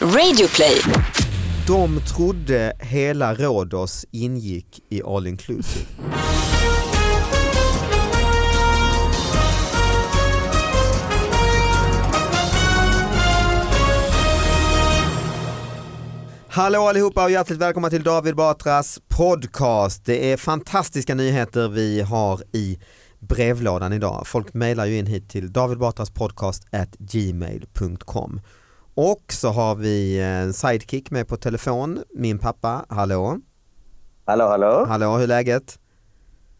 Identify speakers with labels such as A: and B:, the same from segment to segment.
A: Radioplay.
B: De trodde hela Rhodos ingick i all inclusive. Hallå allihopa och hjärtligt välkomna till David Batras podcast. Det är fantastiska nyheter vi har i brevlådan idag. Folk mejlar ju in hit till davidbatraspodcast@gmail.com. Och så har vi en sidekick med på telefon, min pappa. Hallå,
C: Hallå, hallå.
B: hallå hur är läget?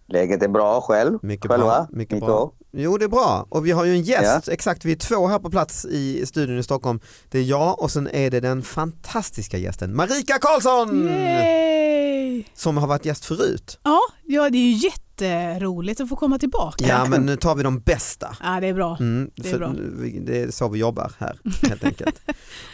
C: Läget är bra själv?
B: Mycket
C: Själva?
B: bra. Mycket
C: Nico?
B: bra. Jo det är bra och vi har ju en gäst, exakt vi är två här på plats i studion i Stockholm. Det är jag och sen är det den fantastiska gästen Marika Karlsson!
D: Yay!
B: Som har varit gäst förut.
D: Ja, ja, det är ju jätteroligt att få komma tillbaka.
B: Ja men nu tar vi de bästa.
D: Ja, det är bra.
B: Mm,
D: Det är
B: för
D: bra.
B: vi- det är så vi jobbar här helt enkelt.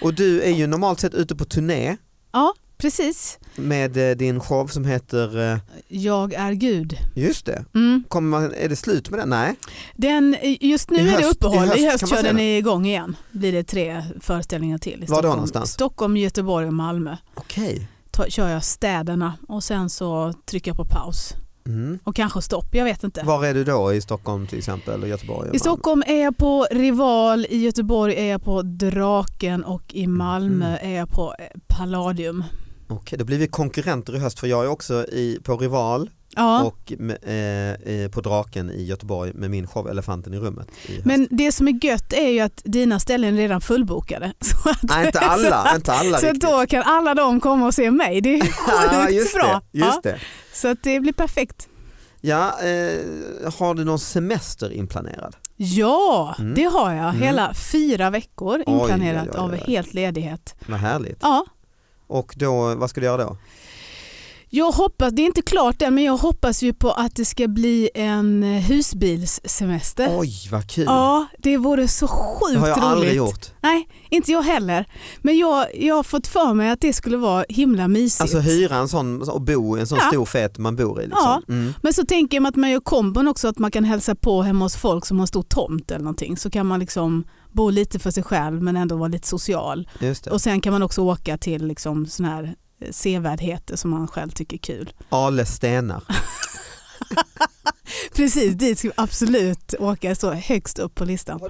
B: Och du är ju normalt sett ute på turné
D: Ja, precis.
B: med eh, din show som heter, eh,
D: Jag är Gud.
B: just det,
D: Mm.
B: Kommer man, är det slut med den? Nej.
D: Den, just nu
B: I
D: är det
B: höst-
D: uppehåll.
B: i
D: I
B: höst
D: höst,
B: kan man
D: kör
B: säga
D: den
B: det.
D: igång igen. Blir det tre föreställningar till
B: Var då
D: i Stockholm.
B: någonstans?
D: Stockholm, Göteborg och Malmö.
B: Okej.
D: Ta, kör jag städerna och sen så trycker jag på paus.
B: Mm.
D: Och kanske stopp, jag vet inte.
B: Var är du då i Stockholm till exempel och Göteborg? och
D: I
B: Malmö?
D: Stockholm är jag på Rival, i Göteborg är jag på Draken och
B: Mm.
D: i Malmö är jag på eh, Palladium.
B: Okej, då blir vi konkurrenter i höst för jag är också i, på Rival
D: Ja.
B: och med, eh, eh, på Draken i Göteborg med min show Elefanten i rummet. I höst.
D: Men det som är gött är ju att dina ställen är redan fullbokade. Så att,
B: Nej, inte alla, inte alla
D: så att
B: riktigt.
D: då kan alla de komma och se mig. Det är
B: Ja,
D: sjukt
B: just
D: bra.
B: Det, just
D: Ja,
B: det.
D: så att det blir perfekt.
B: Ja, eh, har du någon semester inplanerad?
D: Ja,
B: Mm.
D: det har jag.
B: Mm.
D: Hela fyra veckor
B: oj,
D: inplanerat
B: oj, oj.
D: av helt ledighet.
B: Vad härligt.
D: Ja,
B: Och då, vad ska du göra då?
D: jag hoppas, det är inte klart än, men jag hoppas ju på att det ska bli en eh, husbilssemester.
B: Oj, vad kul.
D: Ja, det vore så sjukt
B: det har jag
D: roligt.
B: aldrig gjort.
D: Nej, inte jag heller. Men jag, jag har fått för mig att det skulle vara himla mysigt.
B: Alltså hyra en sån och bo i en sån
D: Ja.
B: stor fet man bor i. Liksom. Mm.
D: Men så tänker man att man gör kombon också, att man kan hälsa på hemma hos folk som har stor tomt eller någonting. Så kan man liksom bo lite för sig själv men ändå vara lite social.
B: Just det.
D: Och sen kan man också åka till liksom såna här eh, sevärdheter som man själv tycker är kul.
B: Ale stenar.
D: Precis, dit ska vi absolut åka, så högst upp på listan.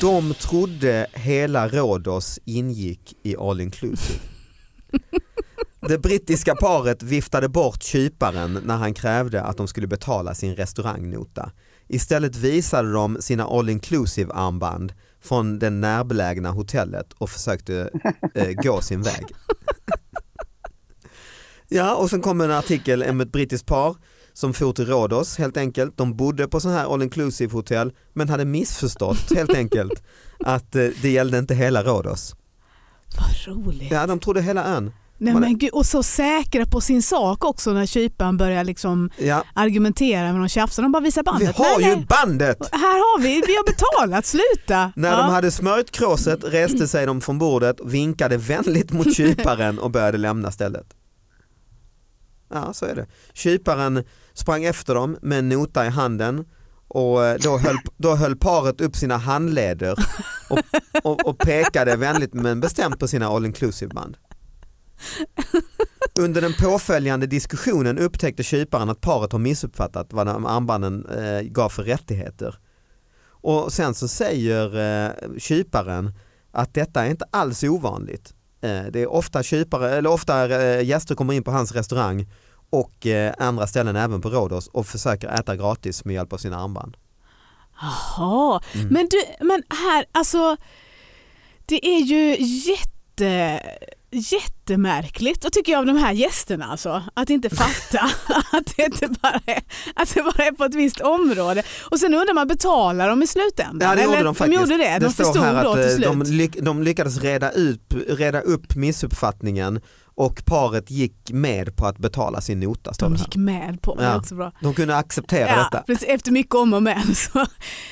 B: De trodde hela Rhodos ingick i all inclusive. Det brittiska paret viftade bort kyparen när han krävde att de skulle betala sin restaurangnota. Istället visade de sina all inclusive armband från det närbelägna hotellet och försökte eh, gå sin väg. Ja, och sen kom en artikel om ett brittiskt par som for till Rhodos helt enkelt. De bodde på sån här all inclusive hotell men hade missförstått helt enkelt att eh, det gällde inte hela Rhodos.
D: Vad roligt.
B: Ja, de trodde hela ön.
D: Nej,
B: man-
D: men gud, och så säkra på sin sak också när kyparen börjar liksom
B: Ja,
D: argumentera med de tjafsar. De bara visar
B: vi
D: bandet.
B: har
D: nej,
B: ju
D: nej.
B: bandet!
D: Här har vi, vi har betalat, sluta!
B: När
D: Ja.
B: de hade smörjt kråset reste sig de från bordet, vinkade vänligt mot kyparen och började lämna stället. Ja, så är det. Kyparen sprang efter dem med en nota i handen och eh, då höll, då höll paret upp sina handleder och, och, och pekade vänligt men bestämt på sina all inclusive band. Under den påföljande diskussionen upptäckte kyparen att paret har missuppfattat vad de armbanden eh, gav för rättigheter. Och sen så säger eh, kyparen att detta är inte alls ovanligt. Eh, det är ofta kypare, eller ofta eh, gäster kommer in på hans restaurang och eh, andra ställen även på Rhodos och försöker äta gratis med hjälp av sina armband.
D: Jaha,
B: Mm.
D: men, du, men här, alltså det är ju jätte, jättemärkligt och tycker jag av de här gästerna alltså, att inte fatta att det inte bara är, att det bara är på ett visst område. Och sen undrar man, betalar de i slutändan?
B: Ja det gjorde
D: Eller,
B: de faktiskt.
D: gjorde det, de
B: står
D: förstod
B: här
D: då
B: att
D: till
B: eh,
D: slut.
B: de, lyck, de lyckades reda, ut, reda upp missuppfattningen och paret gick med på att betala sin nota. Står
D: de
B: det här.
D: gick med på det,
B: Ja.
D: ja. också bra.
B: de kunde acceptera detta.
D: precis, efter mycket om och men. Så.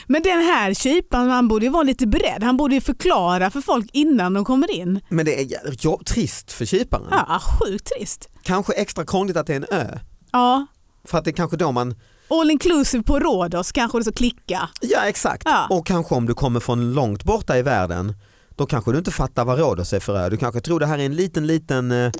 D: Men den här kyparen, han borde ju vara lite beredd. Han borde ju förklara för folk innan de kommer in.
B: Men det är jä- ja, trist för kyparen.
D: Ja, sjukt trist.
B: Kanske extra krångligt att det är en ö.
D: Ja,
B: För att det är kanske då man
D: all inclusive på Rhodos kanske det så klicka.
B: Ja exakt,
D: Ja.
B: och kanske om du kommer från långt borta i världen då kanske du inte fattar vad Rhodos är för ö. Du kanske tror det här är en liten liten eh,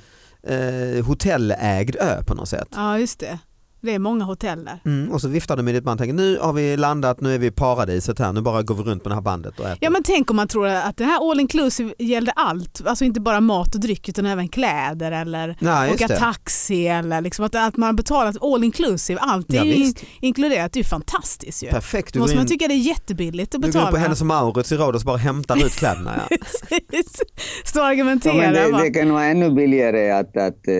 B: eh, hotellägd ö på något sätt.
D: Ja just det. Det är många hotell där.
B: Mm, och så viftar du med ditt band och tänker nu har vi landat, nu är vi i paradiset här, nu bara går vi runt med det här bandet och äter.
D: Ja men tänk om man tror att det här all inclusive gällde allt, alltså inte bara mat och dryck utan även kläder eller
B: Nej, just
D: åka
B: det.
D: taxi eller liksom att, att man har betalat all inclusive, allt är
B: Ja,
D: ju in,
B: visst.
D: inkluderat, det är ju fantastiskt ju.
B: Perfekt, du går
D: Måste man
B: in,
D: tycka det är jättebilligt att
B: du går in
D: betala.
B: på Hennes och Mauritz i Rhodos och bara hämtar ut kläderna. Ja.
D: Precis. Stå och
C: Ja,
D: argumentera.
C: men det,
D: bara.
C: det kan vara ännu billigare att, att eh,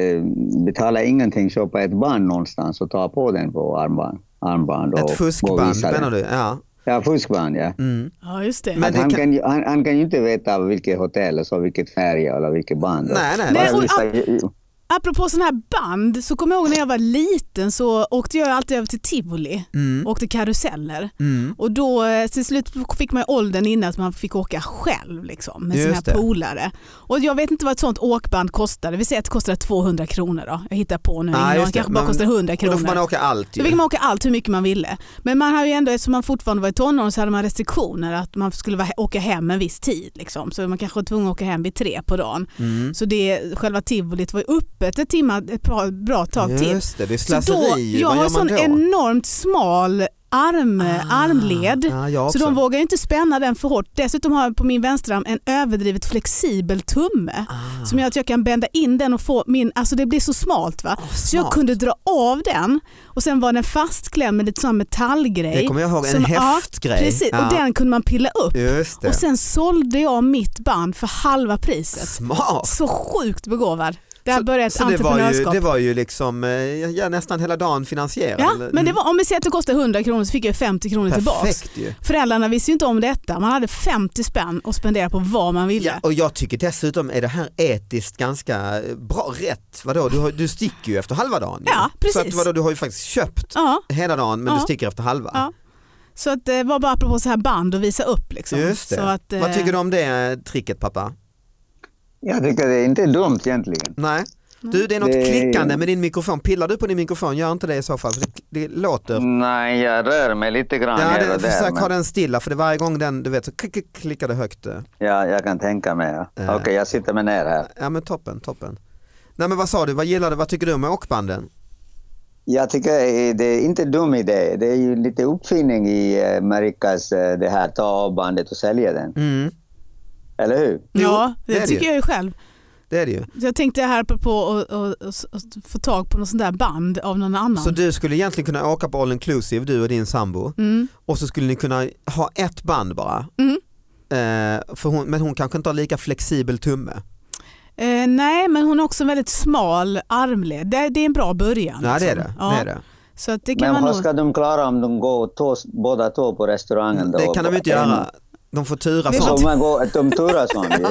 C: betala ingenting, köpa ett band någonstans och ta på den på armband. armband och,
B: Ett
C: och
B: fuskband
C: visa den.
B: menar du? Ja.
C: Ja, fuskband ja.
B: Mm.
D: Ja just det.
B: Men
C: Att
B: det
C: han,
B: kan-
C: kan... ju- han, han kan ju inte veta vilket hotell, och så vilket färg eller vilket band.
B: Nej, nej.
D: Nej,
C: Bara
D: och-
C: visa-
D: Apropå sådana här band så kommer jag ihåg när jag var liten så åkte jag alltid över till tivoli
B: Mm.
D: och åkte karuseller.
B: Mm.
D: Och då eh, till slut fick man ju åldern innan att man fick åka själv liksom, med
B: Just
D: sina
B: det.
D: polare. Och jag vet inte vad ett sånt åkband kostade, vi säger att det kostade 200 kronor då. Jag hittar på nu,
B: Nej,
D: Nej,
B: just
D: det
B: det.
D: kanske bara
B: Men-
D: kostar 100
B: Och då får man
D: kronor.
B: åka allt
D: Då
B: ju.
D: fick man åka allt hur mycket man ville. Men man har ju ändå, eftersom man fortfarande var i tonåren så hade man restriktioner att man skulle vara- åka hem en viss tid. Liksom. Så man kanske var tvungen att åka hem vid tre på dagen.
B: Mm.
D: Så det, själva tivolit var ju öppet ett, timma, ett bra, bra tag till.
B: Just det, det är
D: Så då,
B: slöseri.
D: jag
B: Vad gör
D: har en sån
B: man då? Ah,
D: enormt smal arm, armled.
B: Ja, jag
D: Så
B: också.
D: de vågar ju inte spänna den för hårt. Dessutom har jag på min vänsterarm en överdrivet flexibel tumme
B: Ah.
D: som gör att jag kan bända in den och få min, alltså det blir så smalt va. Så jag
B: smart.
D: kunde dra av den och sen var den fastklämd med lite sån här metallgrej.
B: Det kommer jag ihåg, en
D: Som- ja,
B: häftgrej.
D: Precis,
B: Ja,
D: och den kunde man pilla upp.
B: Just det.
D: Och sen sålde jag mitt band för halva priset.
B: Smart.
D: Så sjukt begåvad. Där började ett
B: Så det var, ju,
D: entreprenörskap.
B: det var ju liksom eh, ja, nästan hela dagen finansierad.
D: Ja,
B: Eller- Mm.
D: men det var, om vi säger att det kostade 100 kronor så fick jag 50 kronor tillbaks.
B: Perfekt ju.
D: Föräldrarna visste ju inte om detta. Man hade 50 spänn att spendera på vad man ville.
B: Ja, och jag tycker dessutom är det här etiskt ganska eh, bra rätt. Vadå, du, har, du sticker ju efter halva dagen. ju.
D: Ja, precis.
B: Så att, vadå, du har ju faktiskt köpt
D: Ja,
B: hela dagen men
D: Ja.
B: du sticker efter halva.
D: Ja, så att det var bara apropå så här band och visa upp. Liksom.
B: Just det.
D: Så att, eh,
B: Vad tycker du om det eh, tricket pappa?
C: Jag tycker det är inte dumt egentligen.
B: Nej. Du det är något
C: Det-
B: klickande med din mikrofon. Pillar du på din mikrofon? Gör inte det i så fall för det, det låter.
C: Nej, jag rör mig lite grann
B: Ja,
C: här
B: det,
C: och där.
B: försök ha
C: men-
B: den stilla för det varje gång den du vet så klick, klick, klickar det högt. eh.
C: Ja, jag kan tänka mig. Ja.
B: Ja.
C: Okej, jag sitter mig ner här.
B: Ja men toppen, toppen. Nej men vad sa du, vad gillar du, vad tycker du om åkbanden?
C: Jag tycker eh, det är inte dum idé. Det är ju lite uppfinning i eh, Amerikas eh, det här ta av bandet och sälja den.
B: Mm,
C: Eller hur?
B: Jo,
D: Ja, det,
B: det är det
D: tycker
B: ju.
D: jag ju själv.
B: det är det ju.
D: Så Jag tänkte här apropå att att- att- att få tag på något sånt där band av någon annan.
B: Så du skulle egentligen kunna åka på all inclusive du och din sambo
D: Mm.
B: och så skulle ni kunna ha ett band bara.
D: Mm.
B: Eh, för hon, men hon kanske inte har lika flexibel tumme.
D: Eh, nej, men hon har också en väldigt smal armled. Det, det är en bra början.
B: Nej det är
D: liksom.
B: det.
D: Ja,
B: det, är det.
D: Så att det kan
C: Men
D: man
C: vad
D: nog...
C: ska de klara om de går tå, båda två på restaurangen? Då?
B: Mm, det kan de ju inte
C: En-
B: göra. De får turas
D: Vi
B: om.
D: får
C: Så man går, de turas man ju.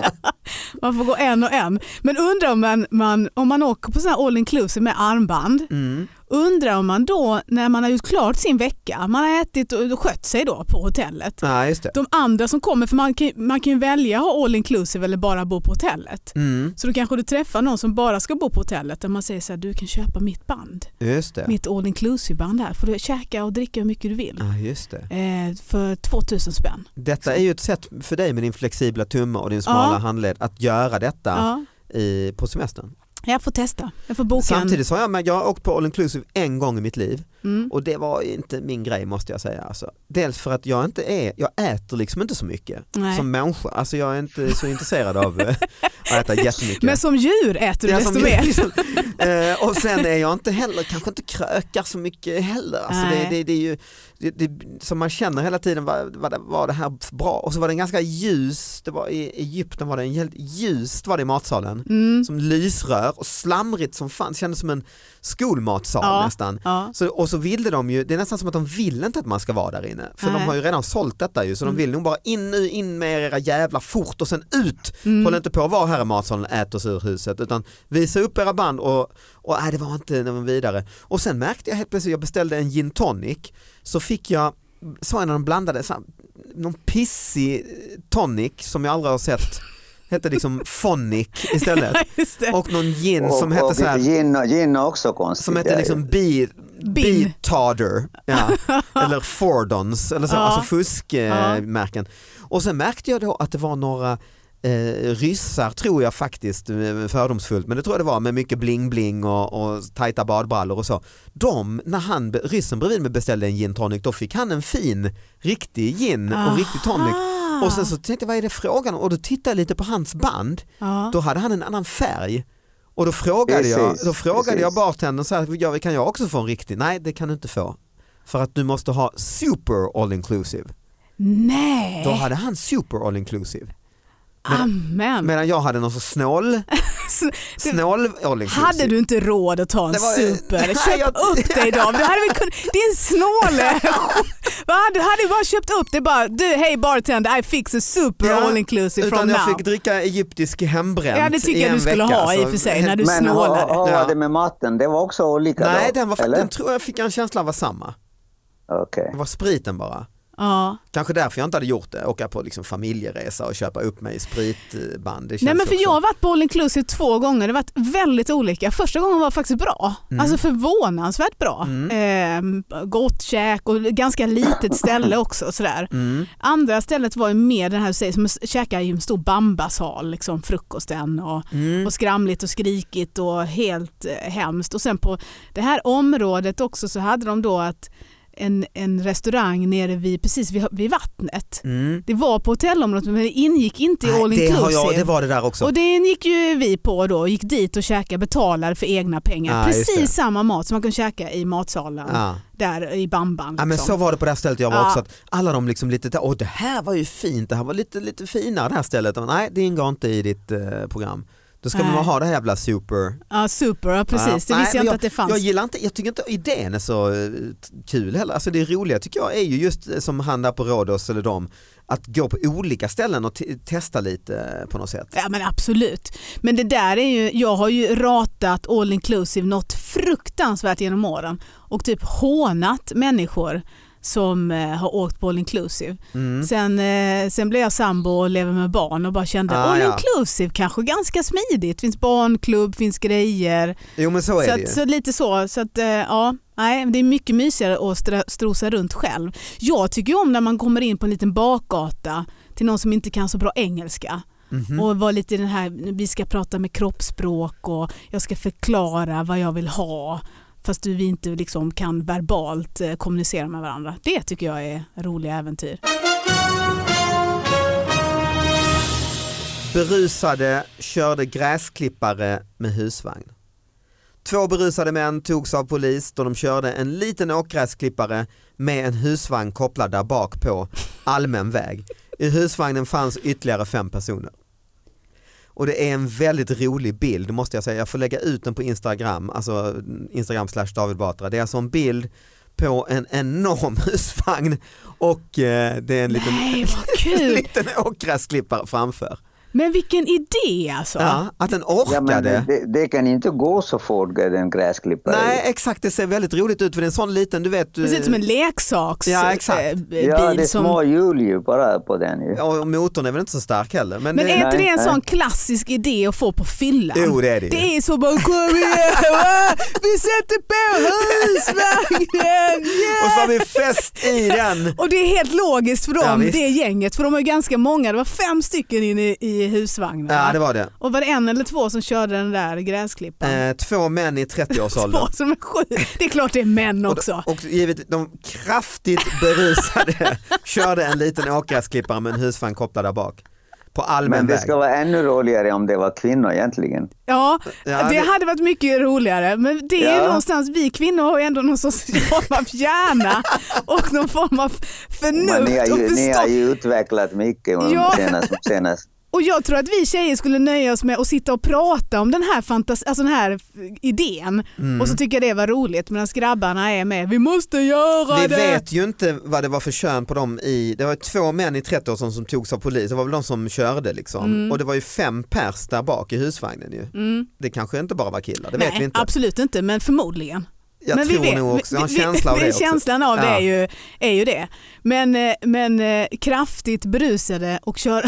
D: Man får gå en och en. Men undrar om man, man, om man åker på sån här all inclusive med armband,
B: Mm.
D: undrar om man då när man har gjort klart sin vecka, man har ätit och skött sig då på hotellet.
B: Nej just det.
D: De andra som kommer, för man kan, ju- man kan ju välja att ha all inclusive eller bara bo på hotellet.
B: Mm,
D: Så då kanske du träffar någon som bara ska bo på hotellet där man säger så här, du kan köpa mitt band,
B: just det.
D: mitt all inclusive band här, får du käka och dricka hur mycket du vill.
B: Ja, just det.
D: Eh, för 2000 spänn.
B: Detta är ju ett sätt för dig med din flexibla tumme och din smala
D: Ja.
B: handled att göra detta
D: Ja.
B: i, på semestern.
D: Jag får testa, jag får boka
B: Samtidigt så har jag, men jag har åkt på all inclusive en gång i mitt liv
D: en. Mm.
B: och det var inte min grej måste jag säga. Alltså. Dels för att jag inte är, jag äter liksom inte så mycket
D: Nej.
B: som människa. Alltså jag är inte så intresserad av eh, att äta jättemycket.
D: Men som djur äter du
B: Ja,
D: desto
B: som-
D: mer.
B: liksom. Eh, och sen är jag inte heller, kanske inte krökar så mycket heller. Alltså det,
D: Nej.
B: det, det är ju, det, det, som man känner hela tiden, var, var, det, var det här bra? Och så var det en ganska ljus, det var i Egypten var det en helt ljust var det i matsalen.
D: Mm.
B: Som lysrör och slamrigt som fan, kändes som en skolmatsal
D: Ja.
B: nästan.
D: Ja.
B: Så, och så ville de ju, det är nästan som att de vill inte att man ska vara där inne. För
D: Nej.
B: de har ju redan sålt detta ju, så de vill nog bara in nu, in med er, era jävla fort och sen ut. Håll inte på att vara här i matsalen och ät oss ur huset utan visa upp era band och, och nej, det var inte någon vidare. Och sen märkte jag helt plötsligt, jag beställde en gin tonic, så fick jag, så när de blandade, så här, någon pissig eh, tonic som jag aldrig har sett, hette liksom fonic istället.
D: Just det.
B: Och någon gin
C: Och,
B: som hette
C: och
B: så här
C: gin, gin är också konstigt.
B: som hette
C: ja,
B: liksom bi,
D: Bin.
B: Beattarder, ja. eller Fordons, eller så,
D: Ja.
B: alltså fuskmärken. Och sen märkte jag då att det var några eh, ryssar tror jag faktiskt, eh, fördomsfullt, men det tror jag det var med mycket bling-bling och, och tajta badbrallor och så. De, när han, ryssen bredvid mig beställde en gin tonic, då fick han en fin, riktig gin och riktig tonic.
D: Aha.
B: Och sen så tänkte jag, vad är det frågan om? Och då tittade jag lite på hans band,
D: Ja.
B: då hade han en annan färg. Och då frågade jag,
C: Precis,
B: då frågade
C: precis.
B: jag bartendern så här, "Ja, kan jag också få en riktig? Nej det kan du inte få. För att du måste ha super all inclusive.
D: Nej,
B: Då
D: Eh.
B: hade han super all inclusive.
D: amen.
B: Medan jag hade någon så snål, snål all inclusive.
D: Hade du inte råd att ta en
B: Det var-
D: super?
B: Nej,
D: Köp
B: jag-
D: upp dig David. Du hade väl kunnat... Din snåle. Va? Du hade ju bara köpt upp det bara. Du, hej bartender, I fix a super
B: Ja,
D: all inclusive
B: Utan
D: from now.
B: jag fick dricka egyptisk hembränt
D: Ja, det tycker
B: i
D: jag
B: en
D: du skulle
B: vecka,
D: ha i och
B: så-
D: för sig, när du
C: Men hur
D: snålade.
C: hur
B: Ja.
C: var det med maten? Det var också olika
B: Nej,
C: då?
B: den var faktiskt,
C: eller?
B: den tror jag fick en känsla av var samma.
C: Okej.
B: Det var spriten bara.
D: Ja.
B: Kanske därför jag inte hade gjort det, åka på liksom familjeresa och köpa upp mig i spritband. Det
D: Nej
B: känns
D: men för
B: också-
D: jag har varit på all inclusive två gånger, det har varit väldigt olika. Första gången var faktiskt bra,
B: Mm.
D: alltså förvånansvärt bra. Eh, gott käk och ganska litet ställe också. Sådär.
B: Mm.
D: Andra stället var ju mer den här du säger, som att käka i en stor bambashal, liksom, frukosten och,
B: Mm.
D: och skramligt och skrikigt och helt eh, hemskt. Och sen på det här området också så hade de då att en, en restaurang nere vid, precis vid, vid vattnet.
B: Mm.
D: Det var på hotellområdet men det ingick inte i
B: Nej,
D: all
B: det, har jag,
D: inclusive.
B: det var det där också.
D: Och det gick ju vi på då, gick dit och käkade, betalade för egna pengar.
B: Ja, Ah, just
D: Precis
B: det.
D: samma mat som man kunde käka i matsalen
B: Ja.
D: där i bamban.
B: Ja, men
D: liksom.
B: så var det på det här stället jag var
D: Ja.
B: också. Att alla de liksom lite, där, åh det här var ju fint, det här var lite, lite finare det här stället. Och, Nej, det ingår inte i ditt eh, program. Då ska man
D: Nej.
B: bara ha det här jävla super.
D: ja, super, ja, precis.
B: Ja.
D: Det
B: Ah, Nej,
D: visste jag
B: men
D: inte att det fanns.
B: Jag gillar inte, jag tycker inte idén är så eh, t- kul heller. Alltså det roliga tycker jag är ju just eh, som han där på Rhodos eller dem, att gå på olika ställen och t- testa lite eh, på något sätt.
D: Ja men absolut. Men det där är ju, jag har ju ratat all inclusive något fruktansvärt genom åren och typ hånat människor som eh, har åkt på all inclusive.
B: Mm.
D: Sen, eh, sen blev jag sambo och lever med barn och bara kände
B: Ah,
D: all
B: ja.
D: inclusive kanske ganska smidigt. Finns barnklubb, finns grejer.
B: Jo men så är
D: Så,
B: det ju.
D: att, så lite så. så att, eh, ja, nej, det är mycket mysigare att stra- strosa runt själv. Jag tycker ju om när man kommer in på en liten bakgata till någon som inte kan så bra engelska.
B: Mhm.
D: Och vara lite i den här, vi ska prata med kroppsspråk och jag ska förklara vad jag vill ha. Fast du, vi inte liksom kan verbalt eh, kommunicera med varandra. Det tycker jag är roliga äventyr.
B: Berusade körde gräsklippare med husvagn. Två berusade män togs av polis då de körde en liten åkgräsklippare med en husvagn kopplad där bak på allmän väg. I husvagnen fanns ytterligare fem personer. Och det är en väldigt rolig bild måste jag säga. Jag får lägga ut den på Instagram, alltså Instagram slash David Batra. Det är alltså en bild på en enorm husvagn och eh, det är en liten,
D: Nej, vad kul!
B: liten åkgräsklippare framför.
D: Men vilken idé alltså!
B: Ja, att den orkade.
C: Ja, men det, det, det kan inte gå så fort, den gräsklipparen.
B: Nej exakt, det ser väldigt roligt ut för det är en sån liten, du vet.
D: Det ser ut som en leksaksbil
B: eh, Ja, exakt.
C: Ja, det är
D: som
C: små hjul ju bara på den ju.
B: Ja, eh, och motorn är väl inte så stark heller. Men,
D: Men
B: det,
D: är inte det en
C: nej.
D: sån klassisk idé att få på fyllan?
B: Jo, det är det ju.
D: Det är så bara kom igen, va? vi sätter på
B: Och
D: husvagnen!
B: så
D: Yeah!
B: har vi fest i den.
D: Och det är helt logiskt för
B: Ja,
D: dem,
B: visst.
D: det gänget, för de har ju ganska många, det var fem stycken inne i- i husvagnen. va?
B: Ja det var det.
D: Och var det en eller två som körde den där gräsklipparen?
B: Eh, två män i 30-årsåldern.
D: Två som är sju. Det är klart det är män
B: Och,
D: också.
B: och givet de kraftigt berusade körde en liten åkgräsklippare med en husvagn kopplad där bak. På allmän
C: Men det
B: väg.
C: ska vara ännu roligare om det var kvinnor egentligen.
D: Ja,
B: Ja,
D: det
B: det-
D: hade varit mycket roligare men det är ju
C: Ja.
D: någonstans, vi kvinnor har ju ändå någon sorts form av hjärna och någon form av
C: Men ni, har
D: förnuft och
C: ju, ni har
D: förstånd.
C: ju utvecklat mycket
D: Ja.
C: ja. senast, senast.
D: Och jag tror att vi tjejer skulle nöja oss med att sitta och prata om den här, fantas- alltså den här idén
B: Mm.
D: och så tycker jag det var roligt medan grabbarna är med, vi måste göra
B: Vi
D: det!
B: vet ju inte vad det var för kön på dem i, det var ju två män i 30-årsåldern som, som togs av polis, det var väl de som körde liksom.
D: Mm.
B: Och det var ju fem pers där bak i husvagnen ju. Det kanske inte bara var killar, det
D: Nej,
B: vet vi inte.
D: absolut inte men förmodligen.
B: Jag
D: men
B: tror
D: vi vet,
B: nog också, jag har en
D: vi- vi-
B: känsla av
D: men
B: det också.
D: Känslan av det
B: Ja.
D: är ju, är ju det. Men, eh, men eh, kraftigt berusade och köra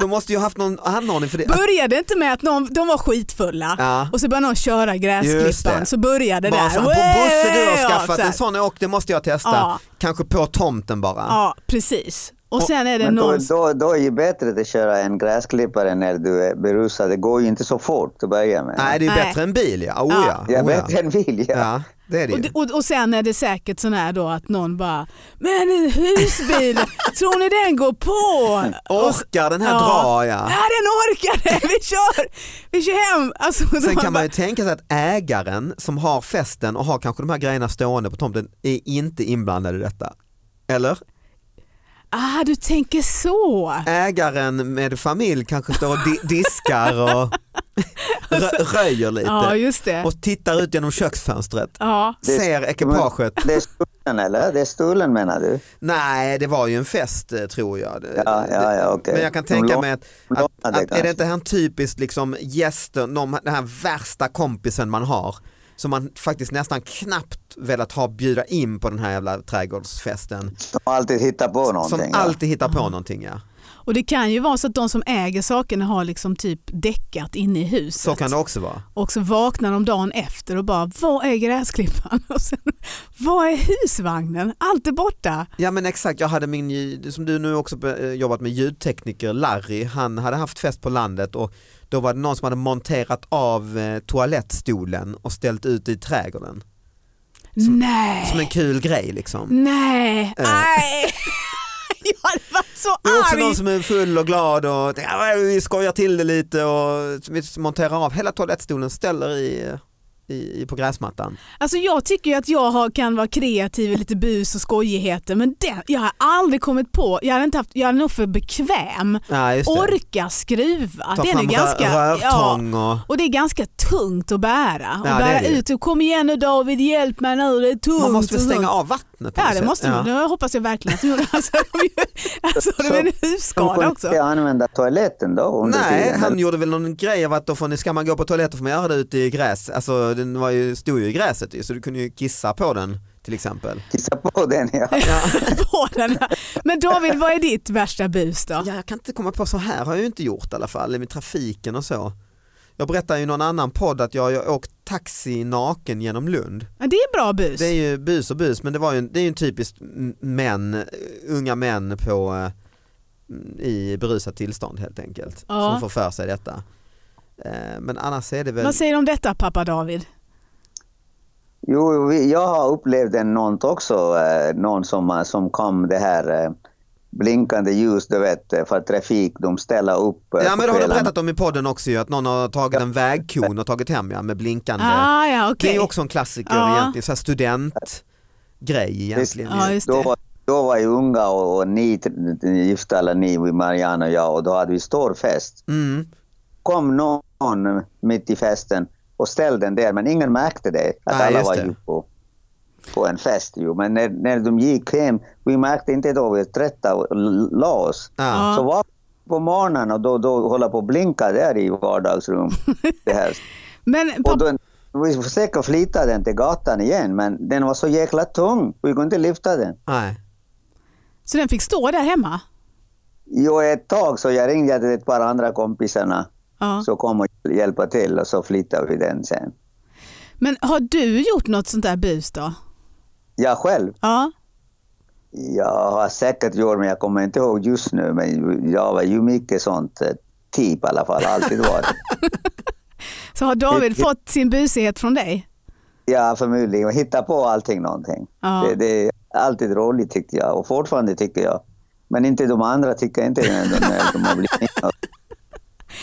B: De måste ju ha haft någon anordning för det.
D: Började inte med att någon, de var skitfulla
B: Alltså- Ja.
D: och så började någon köra
B: Just det.
D: gräsklippan så började det
B: bara
D: där.
B: så här, på Bosse du har
D: Ja,
B: skaffat
D: så här.
B: en sån åk, det måste jag testa.
D: Ja.
B: Kanske på tomten bara.
D: Ja precis. Och sen är det
C: Men då,
D: någon...
C: då, då är det bättre att köra en gräsklippare när du är berusad. Det går ju inte så fort att börja med.
B: Nej det är
D: Nej.
B: bättre än bil ja. Oh,
D: Ja.
B: ja.
C: Jag
B: Oh,
C: vet
B: ja.
C: en vilja.
B: ja det är det
D: Och,
B: ju.
D: det- och, och sen är det säkert sån här då att någon bara, men en husbil, tror ni den går på?
B: Orkar den här
D: Ja.
B: dra ja.
D: Ja den orkar det, vi kör, vi kör hem. Alltså, så
B: Sen
D: man
B: kan
D: bara-
B: man ju tänka sig att ägaren som har festen och har kanske de här grejerna stående på tomten är inte inblandad i detta. Eller?
D: Ah du tänker så.
B: Ägaren med familj kanske står och di- diskar och rö- röjer
D: Ja
B: lite
D: just det.
B: och tittar ut genom köksfönstret.
D: Ja.
C: Det-
B: Ser ekipaget.
C: Det är stulen eller? Det är stulen menar du?
B: Nej, det var ju en fest eh, tror jag. Det-
C: Ja, ja, ja, okej.
B: Men jag kan
C: De
B: tänka
C: lånade-
B: mig att,
C: de
B: att, att
C: lånade
B: är det
C: kanske.
B: inte här typiskt liksom gästen, de, den här värsta kompisen man har som man faktiskt nästan knappt velat ha bjuda in på den här jävla trädgårdsfesten.
C: De har alltid hittat på någonting.
B: som
C: ja.
B: alltid hittar på någonting ja.
D: Och det kan ju vara så att de som äger sakerna har liksom typ däckat inne i huset.
B: Så kan det också vara.
D: Och så vaknar de dagen efter och bara, vad är gräsklippan? Och sen, vad är husvagnen? Allt är borta.
B: Ja men exakt, jag hade min, ljud- som du nu också be- eh, jobbat med, ljudtekniker Larry, han hade haft fest på landet och då var det någon som hade monterat av eh, toalettstolen och ställt ut i trädgården.
D: Nej,
B: Som en kul grej liksom.
D: Mm. nej,
B: Eh.
D: nej. Jag hade varit så
B: Det är också
D: arg.
B: någon som är full och glad och tänker, "Ja, vi skojar till det lite och vi monterar av hela toalettstolen, ställer i, i, i på gräsmattan.
D: Alltså jag tycker ju att jag har, kan vara kreativ i lite bus och skojigheter men det, jag har aldrig kommit på, jag hade, inte haft, jag är nog för bekväm.
B: Ja, just det.
D: Orka skruva,
B: Ta
D: den är
B: fram
D: ganska...
B: rö- rövtång och...
D: Och det är ganska tungt att bära. Och
B: Ja, det är
D: bära
B: det ju.
D: ut och kom igen nu David, hjälp mig nu, det är tungt.
B: Man måste väl
D: och sånt.
B: stänga av vattnet på
D: Ja
B: något
D: det
B: sätt.
D: måste man,
B: ja.
D: nu hoppas jag verkligen att de gjorde. Alltså, de, ju- alltså, de är en
C: De
D: husskada
C: kunde
D: också.
C: inte använda toaletten då under
B: Nej,
C: tiden.
B: han gjorde väl någon grej av att då får ni, ska man gå på toaletten får man göra det ute i gräs. Alltså den var ju, stod ju i gräset ju, så du kunde ju kissa på den till exempel.
C: Kissa på den ja.
D: På den här. Men David, vad är ditt värsta bus då?
B: Ja, jag kan inte komma på, så här har jag ju inte gjort i alla fall, med trafiken och så. Jag berättade ju i någon annan podd att jag, jag åkt taxi naken genom Lund.
D: Ja, det är bra bus.
B: Det är ju bus och bus men det, var ju, en- det är ju en typisk m- män, eh, unga män på, eh, i berusat tillstånd helt enkelt
D: Ja.
B: som får för sig detta. Eh, Men annars är det väl,
D: Vad säger du om detta pappa David?
C: Jo, vi- jag har upplevt en nånt också, eh, någon som, eh, som kom det här eh, blinkande ljus, du vet, eh, för trafik, de ställer upp. eh,
B: ja men det
C: på
B: har du
C: kvällarna.
B: berättat om i podden också ju, att någon har tagit en vägkon och tagit hem ja, med blinkande.
D: Ah, ja,
B: Det är
D: okej.
B: ju också en klassiker
D: Ja.
B: egentligen, så här studentgrej egentligen.
D: Ja, just
C: då,
D: det.
C: var, då var jag unga och, och ni, gifta alla ni, Marianne och jag, och då hade vi stor fest.
B: Mm.
C: Kom någon mitt i festen och ställde den där, men ingen märkte det. Att
B: Nej,
C: alla
B: just
C: var
B: det.
C: ju på, på en fest. Ju. Men när, när de gick hem, vi märkte inte då, vi var trötta och l- la oss.
B: Ja.
C: Så var på morgonen och då, då hålla på och blinka där i vardagsrum. Det här.
D: Men
C: Och
D: pappa,
C: då, vi försökte flytta den till gatan igen, men den var så jäkla tung. Vi kunde inte lyfta den.
B: Nej.
D: så den fick stå där hemma?
C: Jo, ett tag så jag ringde till ett par andra kompisarna
D: Ja.
C: så kom och hjälpa till och så flyttade vi den sen.
D: Men har du gjort något sånt där bus då?
C: Jag själv,
D: Ja.
C: jag har säkert gjort, men jag kommer inte ihåg just nu, men jag var ju mycket sånt eh, typ i alla fall, alltid varit.
D: Så har David fått sin busighet från dig?
C: Ja, förmodligen. Hitta på allting någonting.
D: Ja.
C: Det, det är alltid roligt tyckte jag och fortfarande tycker jag. Men inte de andra tycker inte när de, när de har blivit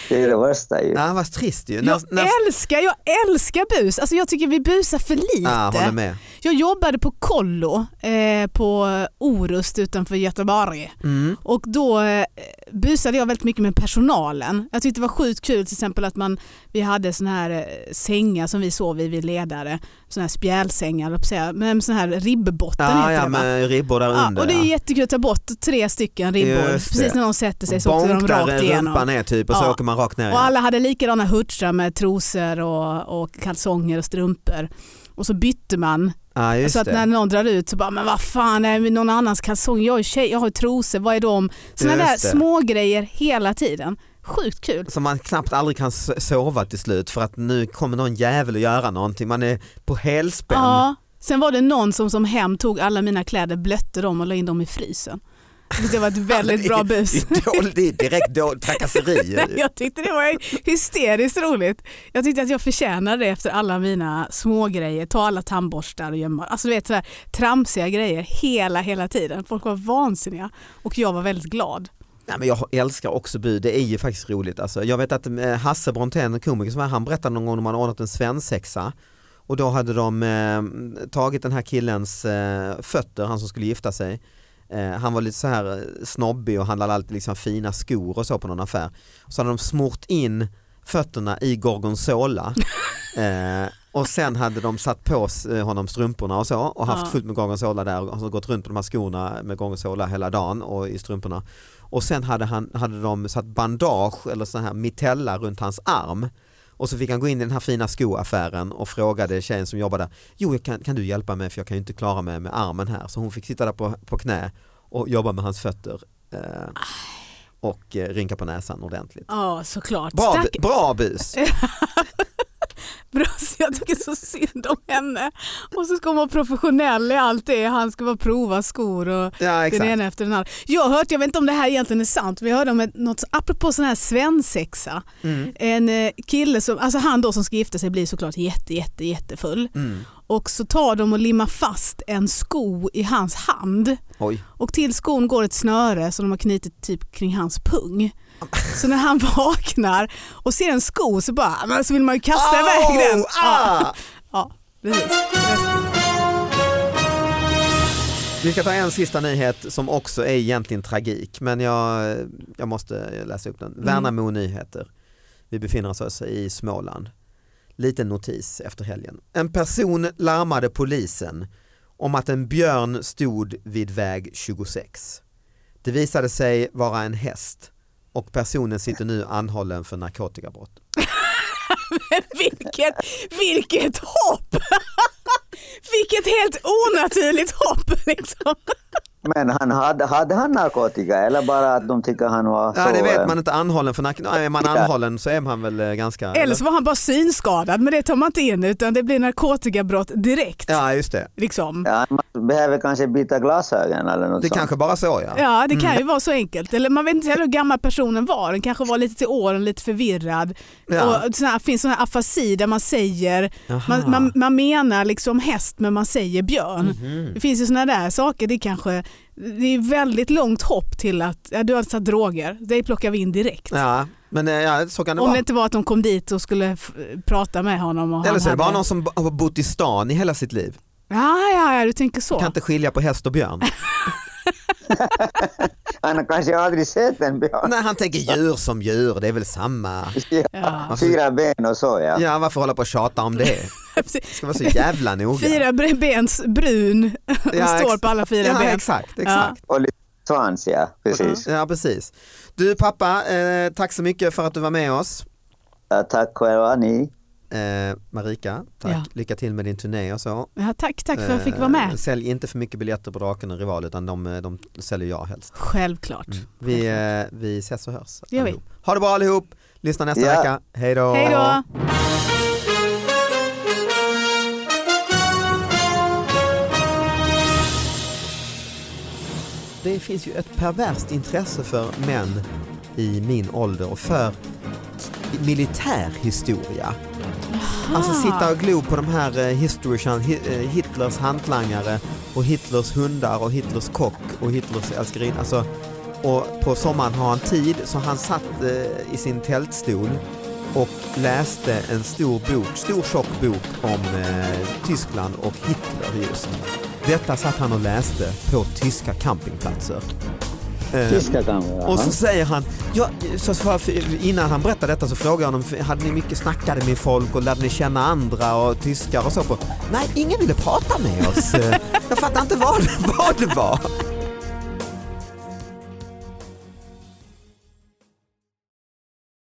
C: Det är det värsta ju.
B: Ja, vad trist ju.
D: Jag
B: när,
D: älskar, jag älskar bus. Alltså jag tycker vi busar för lite.
B: ja, håller med.
D: Jag jobbade på kollo eh, på Orust utanför Göteborg
B: Mm.
D: och då eh, busade jag väldigt mycket med personalen. Jag tyckte det var sjukt kul till exempel att man, vi hade såna här eh, sängar som vi sov i vid ledare, såna här spjälsängar, höll jag på att säga, men såna här ribbbotten
B: Ja,
D: heter
B: ja
D: det va?
B: med ribbor där
D: Ja,
B: under.
D: och det är
B: ja.
D: jättekul att ta bort tre stycken
B: Just
D: ribbor,
B: det.
D: precis när någon sätter sig så
B: Bonk
D: åker de rakt
B: där
D: igenom.
B: rumpan är typ och så
D: Ja.
B: åker man rakt ner.
D: Och
B: igen.
D: alla hade likadana hurtsar med trosor och, och kalsonger och strumpor. Och så bytte man
B: Ja, just
D: så att
B: det.
D: när någon drar ut så bara, men vad fan, det är någon annans kalsong, jag är tjej, jag har trosor, vad är de? Sådana där
B: Just det.
D: små grejer hela tiden. Sjukt kul.
B: Som man knappt aldrig kan so- sova till slut för att nu kommer någon jävel att göra någonting. Man är på helspänn.
D: Ja. Sen var det någon som som hem tog alla mina kläder, blötte dem och la in dem i frysen. Det var ett väldigt bra bus.
B: Det är dåligt, det är direkt dåligt trakasseri.
D: Jag tyckte det var hysteriskt roligt. Jag tyckte att jag förtjänade det efter alla mina smågrejer. Ta alla tandborstar och gömma. Alltså du vet sådär tramsiga grejer hela, hela tiden. Folk var vansinniga och jag var väldigt glad.
B: Nej, men jag älskar också bu, det är ju faktiskt roligt. Alltså, jag vet att eh, Hasse Brontén, en komiker, som var, han berättade någon gång när man ordnat en svensexa och då hade de eh, tagit den här killens eh, fötter, han som skulle gifta sig. Eh, han var lite så här eh, snobbig och handlade alltid liksom fina skor och så på någon affär. Så hade de smort in fötterna i gorgonzola eh, och sen hade de satt på s- eh, honom strumporna och så och haft
D: Ja.
B: fullt med gorgonzola där och så gått runt med de här skorna med gorgonzola hela dagen och i strumporna. Och sen hade, han, hade de satt bandage eller sån här mitella runt hans arm och så fick han gå in i den här fina skoaffären och frågade tjejen som jobbade där, jo jag kan, kan du hjälpa mig för jag kan ju inte klara mig med armen här. Så hon fick sitta där på, på knä och jobba med hans fötter eh, och eh, rynka på näsan ordentligt.
D: Ja, såklart.
B: Bra,
D: Stack,
B: bu- bra bus!
D: bra, så jag tycker så synd om henne. Och så ska hon vara professionell i allt det. Han ska bara prova skor och
B: Ja,
D: den
B: exakt.
D: ena efter den andra. Jag har hört, jag vet inte om det här egentligen är sant, men jag hörde om ett, något, apropå sån här svensexa.
B: Mm.
D: En eh, kille som, alltså han då som ska gifta sig blir såklart jätte, jätte, jättefull.
B: Mm.
D: Och så tar de och limmar fast en sko i hans hand.
B: Oj.
D: Och till skon går ett snöre som de har knutit typ kring hans pung. Så när han vaknar och ser en sko så bara, "Ah, men så vill man ju kasta iväg den.
B: Au, ah!
D: Ja, precis.
B: Vi ska ta en sista nyhet som också är egentligen tragik men jag, jag måste läsa upp
C: Mm.
B: den. Värnamo nyheter. Vi befinner oss alltså i Småland. Liten notis efter helgen. En person larmade polisen om att en björn stod vid väg 26. Det visade sig vara en häst och personen sitter nu anhållen för narkotikabrott.
D: Vilket, vilket hopp! Vilket helt onaturligt hopp liksom.
C: Men han hade, hade han narkotika eller bara att de tycker han var
B: Ja,
C: så,
B: det
C: eh,
B: vet man inte, anhållen för narkotika. Är man
C: Ja.
B: anhållen så är man väl eh, ganska...
D: Eller så var han bara synskadad men det tar man inte in utan det blir narkotikabrott direkt.
B: Ja just det.
D: Liksom.
C: Ja, man behöver kanske byta glasögon eller något
B: Det
C: sånt.
B: kanske bara så ja.
D: Ja det kan ju vara så enkelt. Eller man vet inte heller hur gammal personen var. Den kanske var lite till åren, lite förvirrad.
B: Ja.
D: Och sån här, finns sån här afasi där man säger,
B: Jaha.
D: man, man, man menar liksom häst men man säger björn.
B: Mhm.
D: Det finns ju såna där saker. Det är kanske det är väldigt långt hopp till att ja, du har tagit droger, det plockar vi in direkt.
B: Ja, men eh, ja, så kan det
D: Om det
B: vara.
D: inte var att de kom dit och skulle f- prata med honom. Och
B: Eller
D: han
B: så är det bara
D: hade-
B: någon som b- har bott i stan i hela sitt liv.
D: Ja, ja, ja, du tänker så.
B: Kan inte skilja på häst och björn.
C: Han har kanske aldrig sett en björn.
B: Nej, han tänker djur som djur, det är väl samma.
D: Ja.
C: Fyra ben och så ja.
B: Alltså- Ja, varför hålla på och tjata om det? Det ska vara så jävla noga.
D: Fyra bre- bens brun och
B: Ja,
D: står
B: ex-
D: på alla fyra
B: Ja,
D: ben.
B: exakt. exakt.
C: Och lite svans ja, precis.
B: Ja, precis. Du pappa, eh, tack så mycket för att du var med oss.
C: Ja, tack själva ni.
B: Eh, Marika, tack.
D: Ja.
B: Lycka till med din turné och så.
D: Ja, tack, tack för att jag fick
B: Eh,
D: vara med.
B: Sälj inte för mycket biljetter på Draken och Rival utan de, eh, de säljer jag helst.
D: Självklart.
B: Vi, eh, vi ses och hörs.
D: Det gör vi.
B: allihop. Ha det bra allihop. Lyssna nästa
C: Ja.
B: vecka. Hej då.
D: Hej då!
B: Det finns ju ett perverst intresse för män i min ålder och för militärhistoria. Alltså sitta och glo på de här eh, history channel, hi- eh, Hitlers hantlangare och Hitlers hundar och Hitlers kock och Hitlers älskarinna. Alltså, och på sommaren har han tid så han satt eh, i sin tältstol och läste en stor bok, stor tjock bok om eh, Tyskland och Hitler just. Detta satt han och läste på tyska campingplatser. Eh,
C: Tyska kan vi
B: och
C: ja.
B: så säger han, ja, så så- innan han berättade detta så frågade jag honom, hade ni mycket snackade med folk och lärde ni känna andra och tyskar och så på? Nej, ingen ville prata med oss. Eh, Jag fattar inte vad, vad det var.